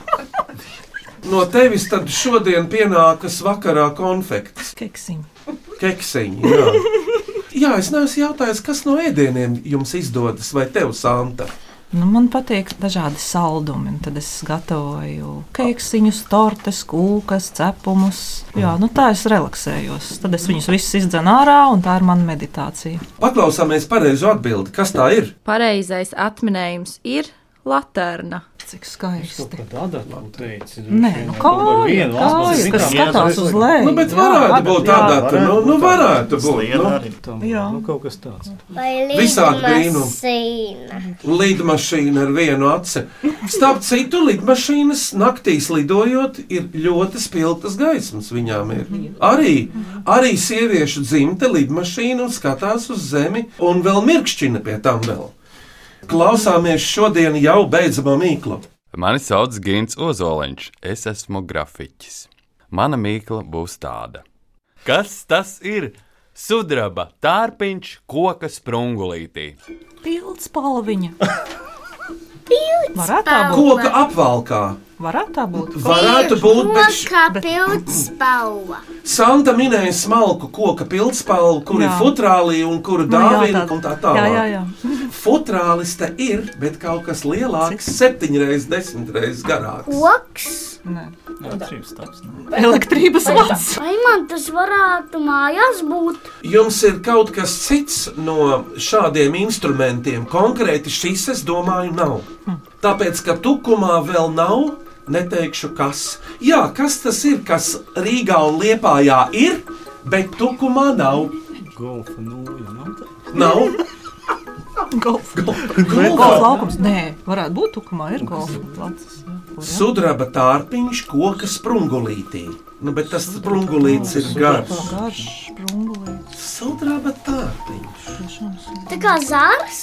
Speaker 3: No tevis tad šodien pienākas vakarā konfekts.
Speaker 4: Keksiņi.
Speaker 3: Keksiņi jā. jā, es neesmu jautājis, kas no ēdieniem jums izdodas, vai tev, Santa?
Speaker 4: Nu, man patīk dažādi saldumi. un Tad es gatavoju keksiņus, tortes, kūkas, cepumus. Jā, nu tā es relaksējos. Tad es viņus visus izdzenu ārā, un tā ir mana meditācija.
Speaker 3: Paklausāmies pareizo atbildi. Kas tā ir?
Speaker 18: Pareizais atminējums ir laterna.
Speaker 4: Cik skaisti.
Speaker 8: Tādā tu teici.
Speaker 4: Nē, nu kā jau tādu kas skatās uz leju?
Speaker 3: Nu, bet varētu būt tādā,
Speaker 8: jā,
Speaker 3: tā, nu, nu varētu būt.
Speaker 8: Slieda arī
Speaker 3: Nu.
Speaker 8: tam.
Speaker 4: Jā,
Speaker 8: nu kaut kas tāds.
Speaker 15: Vai
Speaker 3: Visādi brīnumi.
Speaker 15: līdmasīna?
Speaker 3: Lidmašīna ar vienu aci. Starp citu, lidmašīnas naktīs lidojot, ir ļoti spilgtas gaismas. Viņām ir arī, arī sieviešu dzimta lidmašīna un skatās uz zemi, un vēl mirkšķina pie tam vēl. Klausāmies šodien jau beidzamā mīklu.
Speaker 19: Mani sauc Gins Ozoliņš, es esmu grafiķis. Mana mīkla būs tāda. Kas tas ir? Sudraba tārpiņš, koka sprungulītī.
Speaker 4: Pilds palviņa. Varētu tā būt.
Speaker 3: Koka apvalkā.
Speaker 4: Varētu tā būt.
Speaker 3: Varētu būt, bet š-
Speaker 15: kā pilns spalva.
Speaker 3: Santa minēja smalku koku pilspālu, kur ir
Speaker 4: Jā.
Speaker 3: futrālī un
Speaker 4: Nu,
Speaker 3: kuru
Speaker 4: jā,
Speaker 3: dāvina
Speaker 4: tāda-
Speaker 3: un tā
Speaker 4: Jā,
Speaker 3: tālāk.
Speaker 4: jā, jā.
Speaker 3: Futrālis te ir, bet kaut kas lielāks, septiņreiz, desmitreiz garāks.
Speaker 15: Koks?
Speaker 4: Elektrības vats.
Speaker 15: Vai man tas varētu mājās būt?
Speaker 3: Jums ir kaut kas cits no šādiem instrumentiem. Konkrēti šis, es domāju, nav. Tāpēc, ka tukumā vēl nav, neteikšu, kas. Jā, kas tas ir, kas Rīgā un Liepājā ir, bet tukumā nav.
Speaker 8: Golfa nūja nav tā.
Speaker 3: Nav.
Speaker 4: Golf.
Speaker 3: Golfa.
Speaker 4: Golf laukums. Nē, varētu būt, tukumā ir golfa plats.
Speaker 3: Sudraba tārpiņš, koka sprungulītī. Nu, bet tas sprungulīts ir garš.
Speaker 4: Garš, sprungulīts.
Speaker 3: Sudraba tārpiņš.
Speaker 15: Tā kā zārs?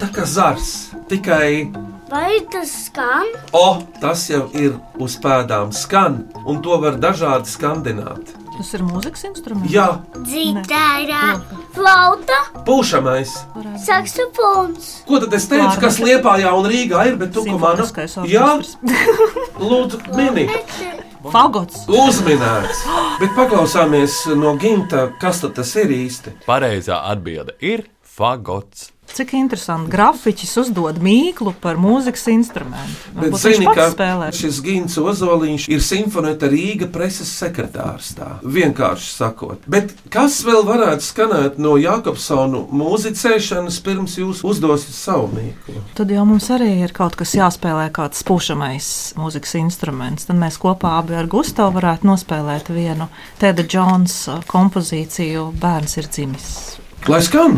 Speaker 3: Tā kā zars, tikai
Speaker 15: Vai tas skan?
Speaker 3: o, tas jau ir uz pēdām skan, un to var dažādi skandināt.
Speaker 4: Tas ir mūzikas instruments.
Speaker 3: Jā,
Speaker 15: Dzitāra, flauta,
Speaker 3: pūšamais.
Speaker 15: saksofons.
Speaker 3: Ko tad es teicu,
Speaker 15: Klārnete.
Speaker 3: kas Liepājā un Rīgā ir, bet tukumā nav? Jā, lūdzu, mini.
Speaker 4: Fagots.
Speaker 3: Uzminēts, bet paklausāmies no Ginta, kas tad tas ir īsti.
Speaker 19: Pareizā atbilde ir fagots.
Speaker 4: Cik interesanti. Grafiķis uzdod mīklu par mūzikas instrumentu.
Speaker 3: Bet
Speaker 4: Varbūt
Speaker 3: zini,
Speaker 4: viņš
Speaker 3: ka
Speaker 4: pats spēlē.
Speaker 3: šis Gins Ozoliņš ir simfonēta Rīga preses sekretārs. Tā vienkārši sakot. Bet kas vēl varētu skanēt no Jākopsonu mūzicēšanas, pirms jūs uzdosiet savu mīklu?
Speaker 4: Tad jau mums arī ir kaut kas jāspēlē, kāds pušamais mūzikas instruments. Tad mēs kopā abi ar Gustavu varētu nospēlēt vienu Teda Jonesa kompozīciju Bērns ir dzimis.
Speaker 3: Lai skan!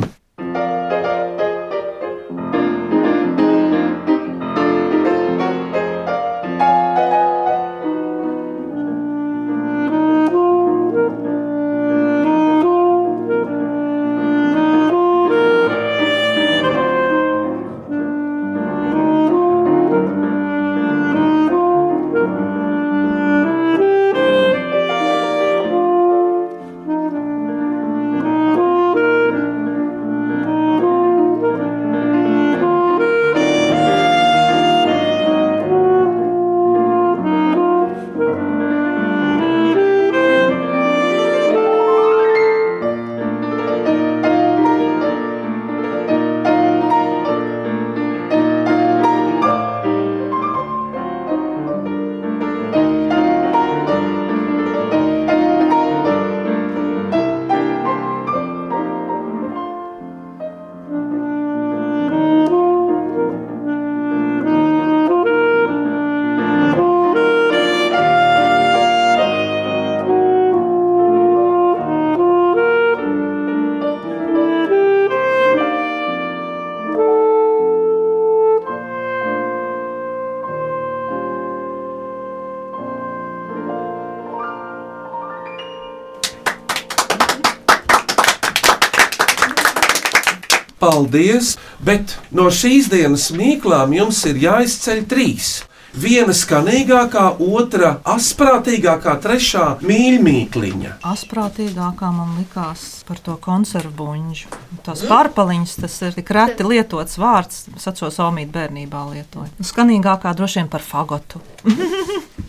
Speaker 3: Paldies! Bet no šīs dienas mīklām jums ir jāizceļ trīs. Viena skanīgākā, otra asprātīgākā, trešā mīļmīkliņa.
Speaker 4: Asprātīgākā man likās par to konservu buļbuļsu. Tās pārpaliņas, tas ir tik reti lietots vārds, sacos Omīdu bērnībā lietoja. Skanīgākā droši vien par fagotu.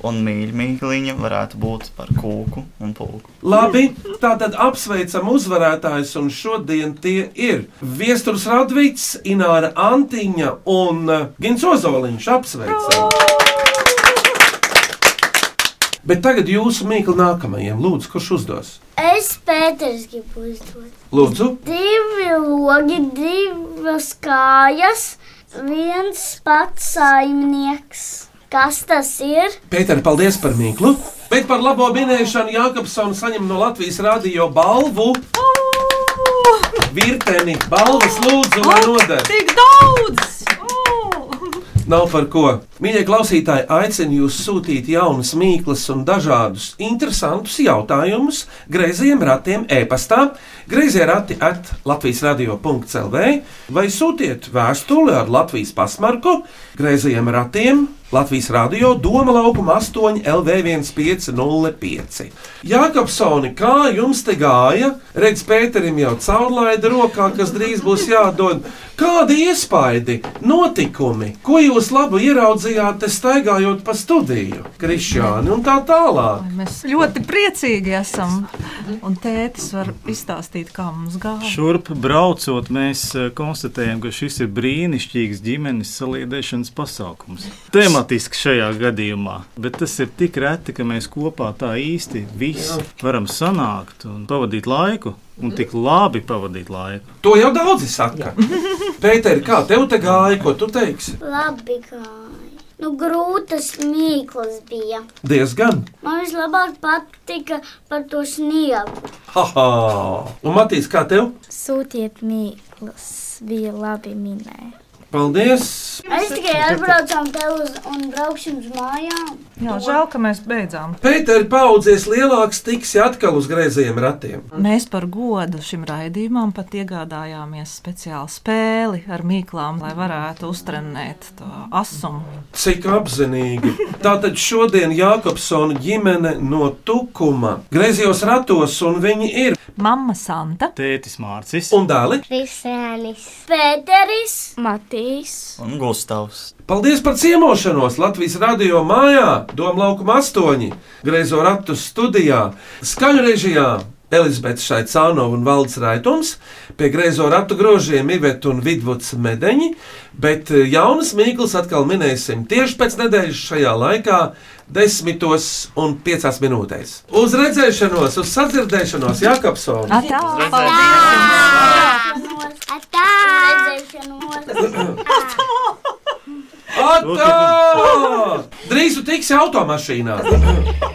Speaker 5: Un mīļmīkliņa varētu būt par kūku un pulku.
Speaker 3: Labi, tātad apsveicam uzvarētājus, un šodien tie ir Viestures Radvīts, Ināra Antiņa un eh, Gins Ozoliņš. Apsveicam! Bet tagad jūsu mīklu nākamajam, lūdzu, kurš uzdos?
Speaker 15: Es Pēters gribu uzdot.
Speaker 3: Lūdzu,
Speaker 15: Divi logi, divas kājas, viens pats saimnieks. Kas tas ir?
Speaker 3: Pēter, paldies par mīklu! Bet par labo minēšanu Jākapsona saņem no Latvijas radio balvu. Virteni, balvas lūdzu, man noder!
Speaker 4: Tik daudz!
Speaker 3: Nav par ko. Mīļie klausītāji, aicinu jūs sūtīt jaunas, mīklas un dažādus interesantus jautājumus greizējiem ratiem e-pastā, grazējai rati at Latvijas radio.clv vai sūtiet vēstuli ar Latvijas pasmarku greizējiem ratiem. Latvijas radio Doma laukuma 8 LV1505. Jākapsoni, kā jums te gāja? Redz, Pēterim jau caurlaida rokā, kas drīz būs jādod. Kādi iespaidi, notikumi, ko jūs labu ieraudzījāt, te staigājot pa studiju, Krišjāni un tā tālāk?
Speaker 4: Mēs ļoti priecīgi esam. Un tētis var izstāstīt, kā mums gāja.
Speaker 8: Šurp braucot, mēs eh, konstatējam, ka šis ir brīnišķīgs ģimenes saliedēšanas pasākums. Tematiski šajā gadījumā, bet tas ir tik reti, ka mēs kopā tā īsti visi varam sanākt un pavadīt laiku, un tik labi pavadīt laiku.
Speaker 3: To jau daudzi saka. Pēter, kā tev te gāja, ko tu teiksi?
Speaker 15: Labi gāja. Nu, grūtas mīklas bija.
Speaker 3: Diezgan.
Speaker 15: Man vislabāk patika par to sniegu.
Speaker 3: Haha! Un Matīs, kā tev?
Speaker 6: Sūtiet mīklas, bija labi minēta.
Speaker 3: Paldies!
Speaker 15: Mēs tikai atbraucām te uz un brauksim uz mājām.
Speaker 4: Jā, žēl, ka mēs beidzām.
Speaker 3: Pēters paudzies lielāks, tiks atkal uz greizajiem ratiem.
Speaker 4: Mēs par godu šim raidījumam pat iegādājāmies speciālu spēli ar mīklām, lai varētu uztrenēt to asumu.
Speaker 3: Cik apzinīgi. Tātad šodien Jākopsona ģimene no Tukuma griezījos ratos, un viņi ir
Speaker 4: Mama Santa,
Speaker 8: Tētis Mārcis
Speaker 3: un Dāli.
Speaker 15: Krisēnis, Pēteris, Matīs.
Speaker 5: Un Gustavs.
Speaker 3: Paldies par ciemošanos Latvijas radio mājā, Doma laukuma 8, griezo ratu studijā, skaņu režijā Elizabete Šaicānova un Valds Raitons, pie greizo ratu grožiem Iveta un Vidvuds Medeņi, bet eh, jaunas mīklas atkal minēsim tieši pēc nedēļas šajā laikā, 10,5 minūtēs. Uz redzēšanos, uz sadzirdēšanos, Jākapsona!
Speaker 4: Atā!
Speaker 3: Atā! Drīz tu tiksi automašīnā!